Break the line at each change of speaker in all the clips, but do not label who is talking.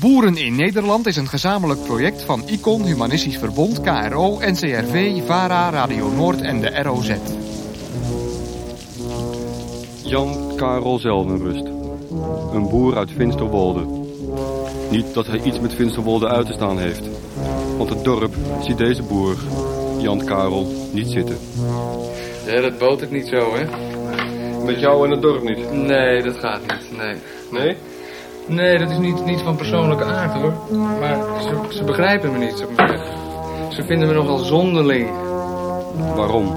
Boeren in Nederland is een gezamenlijk project van ICON, Humanistisch Verbond, KRO, NCRV, VARA, Radio Noord en de ROZ.
Jan Karel Zeldenrust. Een boer uit Finsterwolde. Niet dat hij iets met Finsterwolde uit te staan heeft. Want het dorp ziet deze boer, Jan Karel, niet zitten.
Ja, dat boot het niet zo, hè?
Met jou en het dorp niet?
Nee, dat gaat niet. Nee.
Nee?
Nee, dat is niet, niet van persoonlijke aard, hoor. Maar ze, ze begrijpen me niet, zeg maar. Ze vinden me nogal zonderling.
Waarom?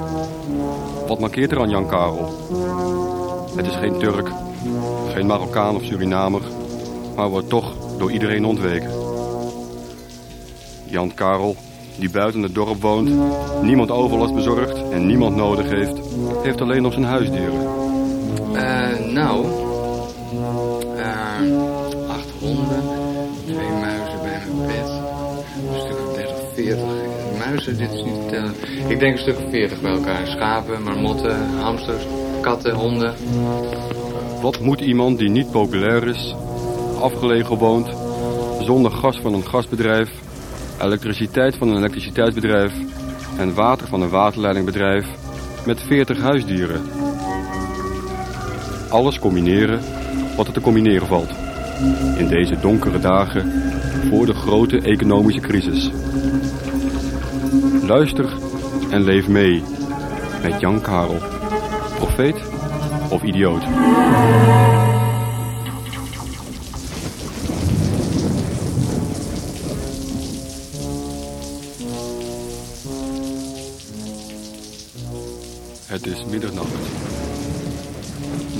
Wat markeert er aan Jan Karel? Het is geen Turk, geen Marokkaan of Surinamer, maar wordt toch door iedereen ontweken. Jan Karel, die buiten het dorp woont, niemand overlast bezorgt en niemand nodig heeft, heeft alleen nog zijn huisdieren.
Eh, nou... eh, acht honden, twee muizen bij mijn bed. Een stuk of 30, 40. Muizen, dit is niet te tellen. Ik denk een stuk of 40 bij elkaar. Schapen, marmotten, hamsters, katten, honden.
Wat moet iemand die niet populair is, afgelegen woont, zonder gas van een gasbedrijf, elektriciteit van een elektriciteitsbedrijf en water van een waterleidingbedrijf met 40 huisdieren? Alles combineren wat er te combineren valt. In deze donkere dagen voor de grote economische crisis. Luister en leef mee met Jan Karel, profeet of idioot. Het is middernacht.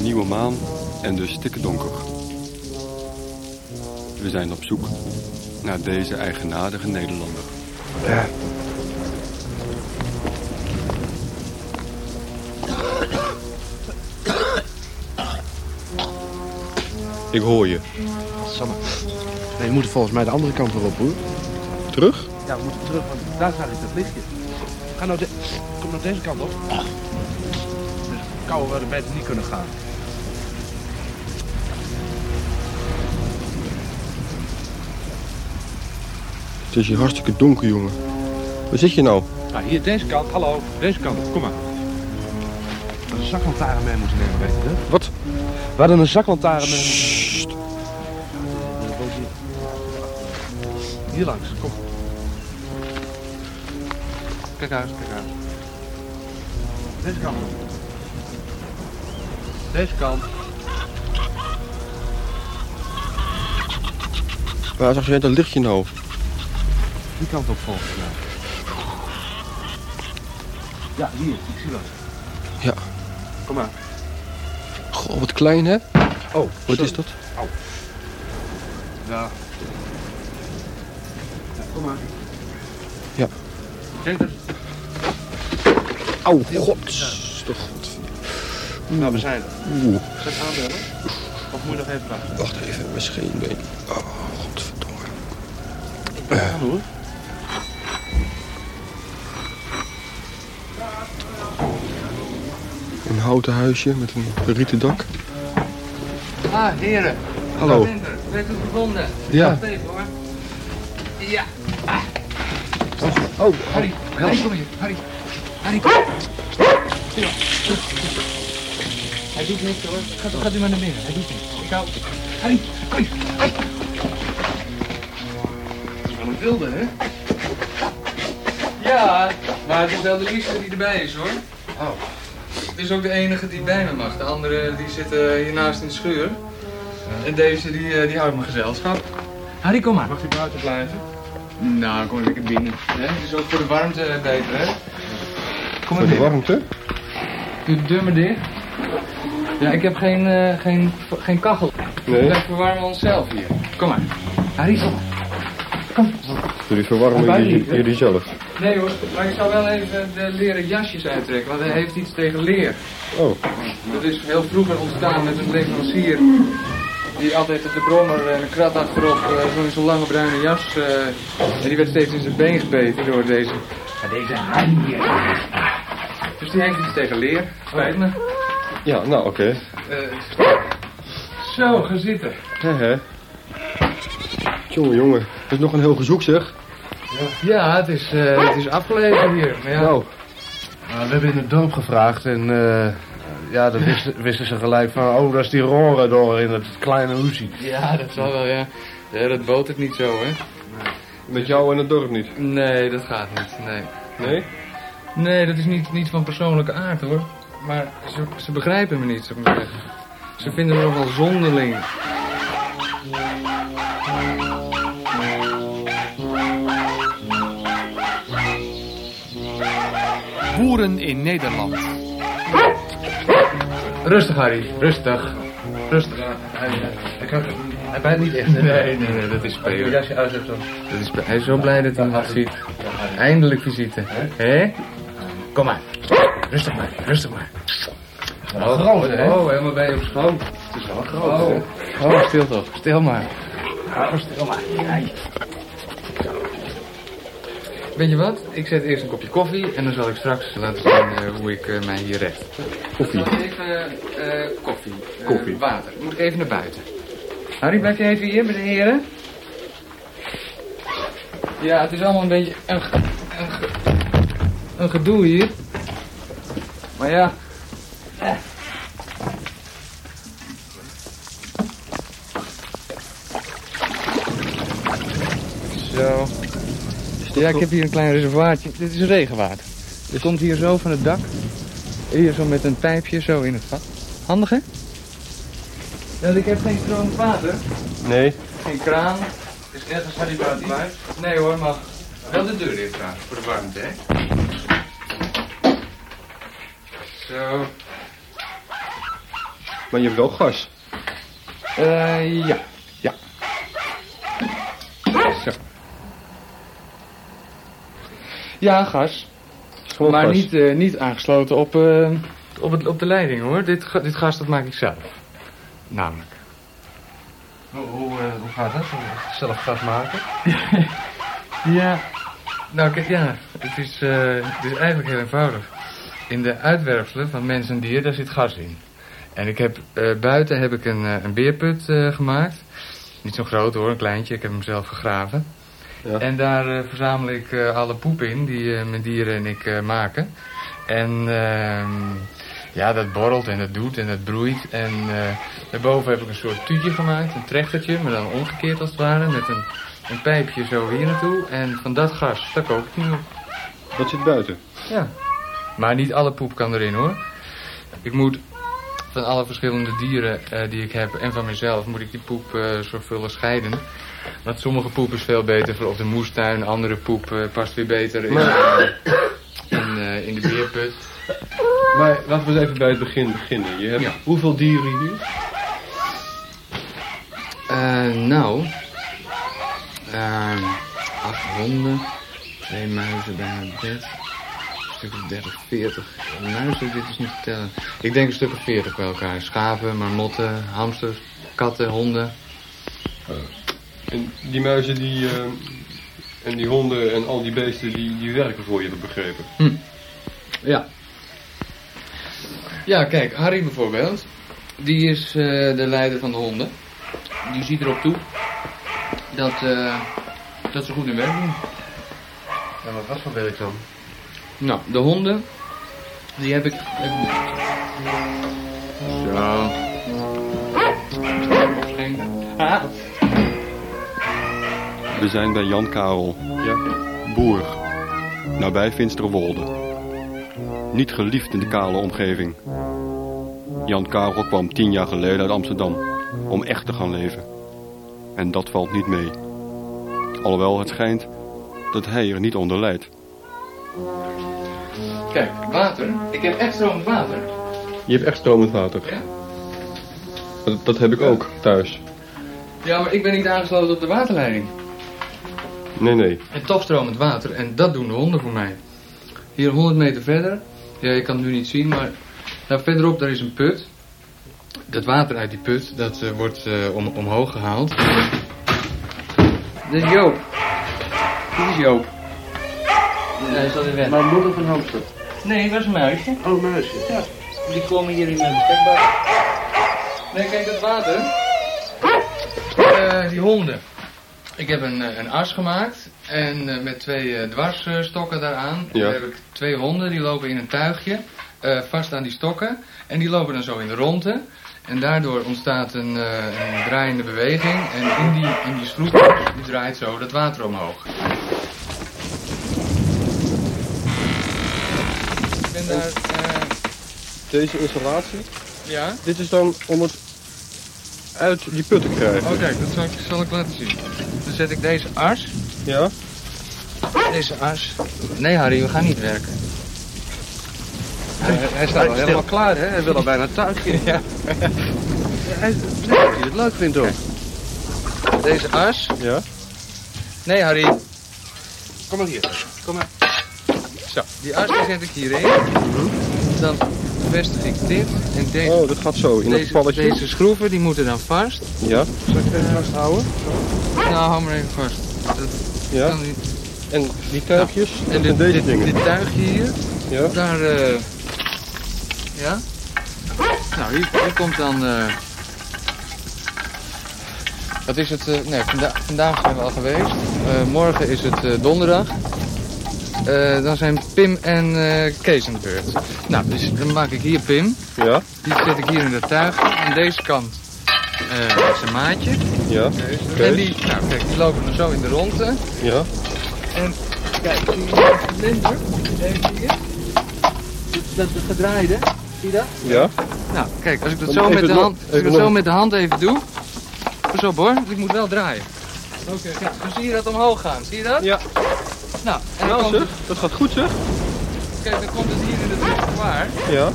Nieuwe maan en dus stikken donker. We zijn op zoek naar deze eigenaardige Nederlander. Ik hoor je.
Sanne. Nee, we moeten volgens mij de andere kant erop, hoor.
Terug?
Ja, we moeten terug, want daar staat het dat lichtje. Ga nou de... Kom nou deze kant op. Dus koude waar de beter niet kunnen gaan.
Het is hier hartstikke donker, jongen. Waar zit je nou?
Nou, hier, deze kant. Hallo, deze kant op. Kom maar. We hadden een zaklantaarn mee moeten nemen, weet je dat?
Wat?
We hadden een zaklantaarn mee. Hier langs, kom.
Kijk uit, kijk uit.
Deze kant op. Deze kant.
Waar zag jij dat lichtje nou?
Die kant op volgens mij. Ja, hier, ik zie dat.
Ja.
Kom maar.
Goh, wat klein, hè?
Oh,
Wat is dat?
Ja. Kom maar.
Ja.
Kijk eens.
Au, god. Toch, god.
Nou, we zijn er.
Oeh,
Zal ik aanbellen? Of moet je nog even wachten?
wacht even, misschien ben ik... Oh, godverdomme.
Aan hoor.
Een houten huisje met een rieten dak.
Ah, heren.
Hallo.
Minder. We hebben het gevonden.
Ja.
Wacht even, hoor. Ja.
Oh, oh.
Harry, Harry, kom hier. Harry. Harry, kom. Ja. Hij doet niks hoor. Gaat, gaat u maar naar binnen. Hij doet niks. Ik hou... Harry, kom hier. Harry. Dat is wel een wilde, hè? Ja, maar het is wel de liefste die erbij is, hoor.
Oh.
Het is ook de enige die bij me mag. De anderen die zitten hiernaast in de schuur. En deze die, eh, die houdt me gezelschap. Harry, kom maar.
Mag ik buiten blijven?
Nou, kom lekker binnen. Hè? Het is ook voor de warmte eh, beter, hè? Kom maar
Voor de
binnen.
warmte?
Doe de deur maar dicht. Ja, ik heb geen, eh, geen, geen kachel.
Nee.
Wij verwarmen onszelf hier. Kom maar. Harry, kom maar.
Jullie verwarmen
Buiten
jullie,
niet, hè?
jullie zelf.
Nee hoor, maar ik zou wel even de leren jasjes uittrekken, want hij heeft iets tegen leer.
Oh,
Dat is heel vroeger ontstaan met een leverancier die altijd op de brommer en een krat achterop eh, zo in zo'n lange bruine jas. eh, en die werd steeds in zijn been gebeten door deze. deze Dus die heeft iets tegen leer. Spijt me.
ja, nou, oké.
Eh, zo, gaan zitten.
Hè, hè. Jongen, jongen. Dat is nog een heel gezoek, zeg.
Ja, het is, eh, het is afgelegen hier. Maar ja,
Nou,
Nou, we hebben in het dorp gevraagd en eh, ja, dan wisten, wisten ze gelijk van, oh, dat is die roren door in dat kleine huisje.
Ja, dat zal wel, ja. Ja, dat botert niet zo, hè?
met jou en het dorp niet.
Nee, dat gaat niet, nee.
Nee?
Nee, dat is niet, niet van persoonlijke aard, hoor. Maar ze, ze begrijpen me niet, zou ik maar zeggen. Ze vinden me nogal zonderling.
Boeren in Nederland.
Rustig, Harry, rustig. Rustig. Ik kan, hij bijt niet echt.
Nee, nee, nee, dat is spelen.
jasje uit hebt dan.
Dat is, hij is zo blij dat hij ons ziet. Eindelijk visite, hè? Kom maar. Rustig maar, rustig maar.
Oh, groot, hè?
Oh, helemaal bij je op schoon.
Het is wel groot, hè?
Oh, stil toch, stil maar.
Ja, stil maar.
Weet je wat? Ik zet eerst een kopje koffie en dan zal ik straks laten zien eh, hoe ik eh, mij hier red.
Koffie.
Zal ik even eh, koffie. eh,
Koffie.
water. Moet ik even naar buiten. Harry, blijf je even hier met de heren? Ja, het is allemaal een beetje een, ge- een, ge- een gedoe hier. Maar ja. eh. Zo. Ja, ik heb hier een klein reservaatje. Dit is regenwater. Het komt hier zo van het dak. Hier zo met een pijpje zo in het vat. Handig hè? Ja, ik heb geen stromend water.
Nee.
Geen kraan. Is nergens aan die buiten huis? Nee hoor, maar wel de deur dicht gaan voor de warmte hè? Zo.
Maar je hebt wel gas.
Eh, ja. Ja. Zo. Ja, gas.
Gewoon
maar
gas.
Niet, eh, niet aangesloten op, eh, op, het, op de leiding hoor. Dit, ga- dit gas dat maak ik zelf. Namelijk.
Hoe, hoe, eh, hoe gaat dat? Zelf gas maken?
Ja. Nou kijk, ja. Het is, eh, het is eigenlijk heel eenvoudig. In de uitwerpselen van mens en dier, daar zit gas in. En ik heb, eh, buiten heb ik een, eh, een beerput eh, gemaakt. Niet zo groot hoor, een kleintje. Ik heb hem zelf gegraven.
Ja.
En daar eh, verzamel ik eh, alle poep in die eh, mijn dieren en ik eh, maken. En ehm, ja, dat borrelt en dat doet en dat broeit. En eh, daarboven heb ik een soort tuutje gemaakt, een trechtertje, maar dan omgekeerd als het ware. Met een, een pijpje zo hier naartoe. En van dat gas, daar kook ik nu op.
Dat zit buiten.
Ja. Maar niet alle poep kan erin hoor. Ik moet van alle verschillende dieren eh, die ik heb en van mezelf moet ik die poep eh, zorgvuldig scheiden. Want sommige poep is veel beter voor op de moestuin, andere poep eh, past weer beter in, in, eh, in de beerput.
Maar laten we eens even bij het begin beginnen. Je hebt
Ja.
hoeveel dieren hier?
Eh, nou. Ehm acht honden. Twee muizen bij mijn bed. Een stuk of 30, 40. Muizen, dit is niet te tellen. Ik denk een stuk of 40 bij elkaar. Schapen, marmotten, hamsters, katten, honden.
En die muizen die, eh, en die honden en al die beesten die, die werken voor je, heb ik begrepen.
Ja. Ja, kijk, Harry bijvoorbeeld. Die is eh, de leider van de honden. Die ziet erop toe dat, eh, dat ze goed hun werk doen.
Ja, maar wat voor werk dan?
Nou, de honden, die heb ik. Even... Zo. Geen- Ah.
We zijn bij Jan Karel. Ja. Boer. Nabij Finsterwolde. Niet geliefd in de kale omgeving. Jan Karel kwam tien jaar geleden uit Amsterdam om echt te gaan leven. En dat valt niet mee. Alhoewel het schijnt dat hij er niet onder lijdt.
Kijk, water. Ik heb echt stromend water.
Je hebt echt stromend water.
Ja.
Dat, dat heb ik ook thuis.
Ja, maar ik ben niet aangesloten op de waterleiding.
Nee, nee.
En toch stromend water. En dat doen de honden voor mij. Hier 100 meter verder. Ja, je kan het nu niet zien, maar daar verderop daar is een put. Dat water uit die put, dat eh, wordt eh, om, omhoog gehaald. Dit is Joop. Dit is Joop. Hij is alweer weg.
Maar moeder van hamster.
Nee, dat is een muisje.
Oh, meisje. Ja.
Die komen hier in mijn bestekbak. Nee, kijk, dat water. Eh, die honden. Ik heb een, eh, een as gemaakt en eh, met twee eh, dwarsstokken daaraan.
Ja.
Daar heb ik twee honden, die lopen in een tuigje, eh, vast aan die stokken. En die lopen dan zo in de ronde. En daardoor ontstaat een, eh, een draaiende beweging. En in die, in die schroef, die draait zo dat water omhoog. Ik ben daar... eh,
Deze installatie,
ja?
dit is dan om het uit die put te krijgen.
Oh kijk, dat zal ik, zal ik laten zien. Dan zet ik deze as.
Ja?
Deze as. Nee Harry, we gaan niet werken.
Hij, hij staat al helemaal klaar, hè? Hij wil al bijna thuis gaan. Ja. Hij is dat hij het leuk vindt ook.
Deze as.
Ja?
Nee Harry,
Kom maar hier. Kom maar.
zo. Die as die zet ik hierin. Dan vestig ik dit en deze.
Oh, dat gaat zo, in dat
Deze,
palletje.
deze schroeven die moeten dan vast.
Ja? Zal ik even vasthouden?
Nou, hou maar even vast. Dat
Ja?
kan niet.
En die tuigjes? en,
dit,
deze
dit,
dingen?
dit tuigje hier,
ja?
daar. eh, ja? Nou, hier, hier komt dan. eh wat is het? eh, nee, vanda- vandaag zijn we al geweest. Eh, morgen is het eh, donderdag. Eh, dan zijn Pim en eh, Kees aan de beurt. Nou, dus dan maak ik hier Pim.
Ja?
Die zet ik hier in de tuig. Aan deze kant eh, zijn maatje.
Ja?
En
Kees?
die, nou kijk, die lopen dan zo in de ronde.
Ja?
Kijk, zie je die vlinder? Even hier. Dat dat gedraaide, zie je dat?
Ja?
Nou, kijk, als ik dat
Dan
zo
even
met de
nog-
hand, als ik
even
dat zo
nog.
met de hand even doe. Pas op hoor, want ik moet wel draaien. Oké. dan zie je dat omhoog gaan, zie je dat?
Ja.
Nou, en dan
Nou
komt het,
zeg, dat gaat goed zeg.
kijk, dan komt het hier in het reservoir.
Ja?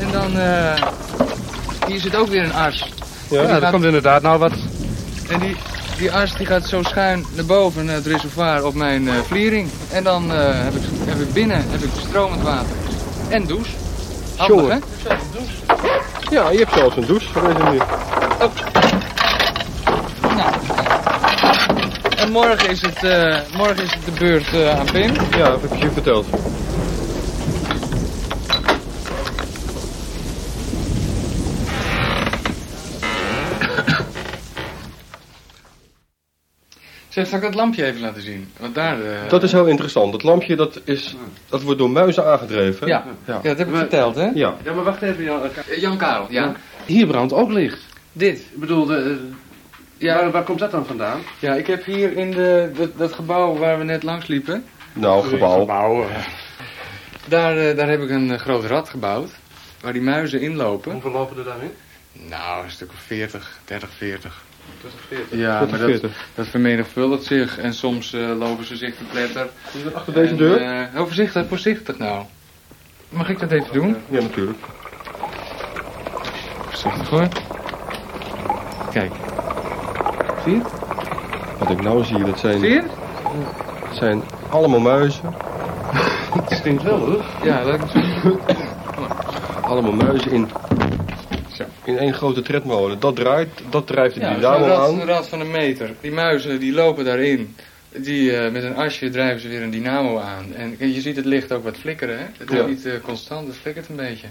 En dan, eh, hier zit ook weer een as.
Ja?
Ja,
dat komt inderdaad nou wat.
En die, die as die gaat zo schuin naar boven naar het reservoir op mijn eh, vliering. En dan eh, heb, ik, heb ik binnen heb ik stromend water. En douche. Handig,
Jongen.
hè?
Ja, je hebt zelfs een douche voor deze manier.
En morgen is het, eh, morgen is het de beurt eh, aan Pim.
Ja, dat heb ik je verteld.
Zeg, zal ik dat lampje even laten zien? Want daar... eh,
Dat is heel interessant. Dat lampje dat is, dat wordt door muizen aangedreven.
Ja. ja, dat heb ik verteld, hè?
Ja.
Ja, maar wacht even, Jan.
Jan Karel, ja.
Hier brandt ook licht.
Dit.
Ik bedoel, de, eh, waar,
Ja,
waar komt dat dan vandaan?
ja, ik heb hier in de, dat, dat gebouw waar we net langs liepen...
Nou, gebouw.
Daar, eh, daar heb ik een eh, groot rad gebouwd. Waar die muizen inlopen.
Hoeveel lopen er daarin?
Nou, een stuk of 40, 30, 40.
30, 40.
Ja, maar dat,
40.
dat vermenigvuldigt zich en soms eh, lopen ze zich te pletter.
Achter deze
En,
deur?
eh, oh, voorzichtig, voorzichtig nou. Mag ik dat even doen?
Ja, natuurlijk.
Voorzichtig hoor. Kijk. Zie je het?
Wat ik nou zie, dat
Zie
zijn,
je het?
dat zijn allemaal muizen.
Het stinkt wel, hoor.
Ja, laat ik het zien.
Allemaal muizen in,
Zo.
in één grote tredmolen. Dat draait, dat drijft de
Ja, zo'n
dynamo
rad,
aan.
een rad van een meter. Die muizen die lopen daarin. Die, eh, met een asje drijven ze weer een dynamo aan. En kijk, je ziet het licht ook wat flikkeren. Hè? Het is
Ja.
niet eh, constant, het flikkert een beetje.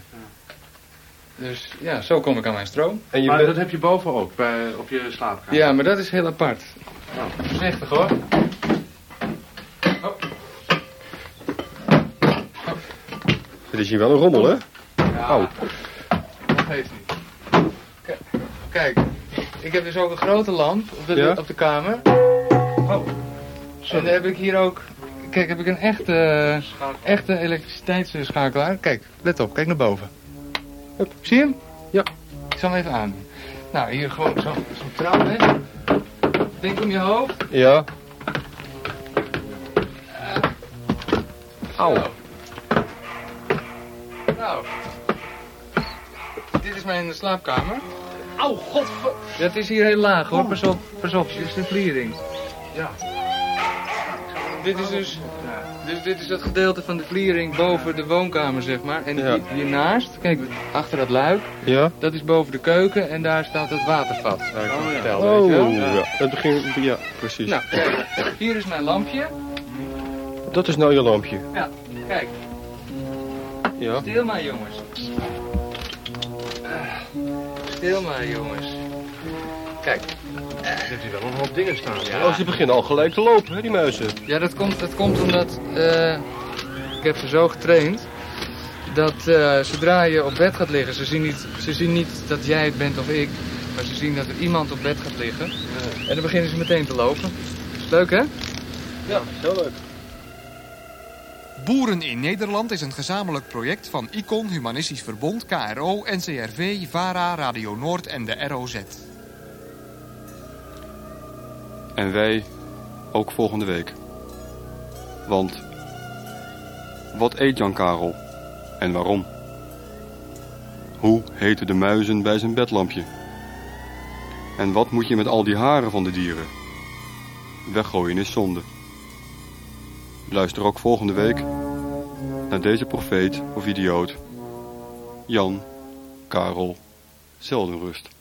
Dus ja, zo kom ik aan mijn stroom.
En je
Maar dat
bent,
heb je boven ook, bij, op je slaapkamer.
Ja, maar dat is heel apart.
Nou.
Voorzichtig hoor.
het is hier wel een rommel, hè?
Ja,
Au.
dat geeft niet. Kijk, Kijk, ik heb dus ook een grote lamp op de,
Ja?
op de kamer. En dan heb ik hier ook... Kijk, heb ik een echte, echte elektriciteitsschakelaar. Kijk, let op. Kijk naar boven.
Hup.
Zie je hem?
Ja.
Ik zal hem even aan. Nou, hier gewoon zo- zo'n trap, hè. Denk om je hoofd.
Ja.
Au. Nou. Dit is mijn slaapkamer. Au, god. Dat is hier heel laag hoor, pas op, pas op, dit is de vliering.
Ja.
Dit is dus, dus dit is dat gedeelte van de vliering boven de woonkamer zeg maar. En
Ja.
hier, hiernaast, kijk, achter dat luik,
Ja.
dat is boven de keuken en daar staat het watervat. Waar ik
Oh,
van
ja.
vertelde,
Oh,
weet je wel.
ja. Het begint, ja, precies.
Nou, kijk, hier is mijn lampje.
Dat is nou je lampje.
Ja, kijk,
Ja.
stil maar jongens. Eh, Ah, Stil maar jongens. Kijk,
Je hebt hier wel nog wat dingen staan.
Oh, ze beginnen al gelijk te lopen, hè, die muizen.
Ja, dat komt, dat komt omdat eh, ik heb ze zo getraind dat eh, zodra je op bed gaat liggen, ze zien, niet, ze zien niet dat jij het bent of ik, maar ze zien dat er iemand op bed gaat liggen. En dan beginnen ze meteen te lopen. Leuk hè?
Ja, heel leuk.
Boeren in Nederland is een gezamenlijk project van ICON, Humanistisch Verbond, KRO, NCRV, VARA, Radio Noord en de ROZ.
En wij ook volgende week. Want wat eet Jan Karel en waarom? Hoe heten de muizen bij zijn bedlampje? En wat moet je met al die haren van de dieren? Weggooien is zonde. Luister ook volgende week naar deze profeet of idioot. Jan Karel Zeldenrust.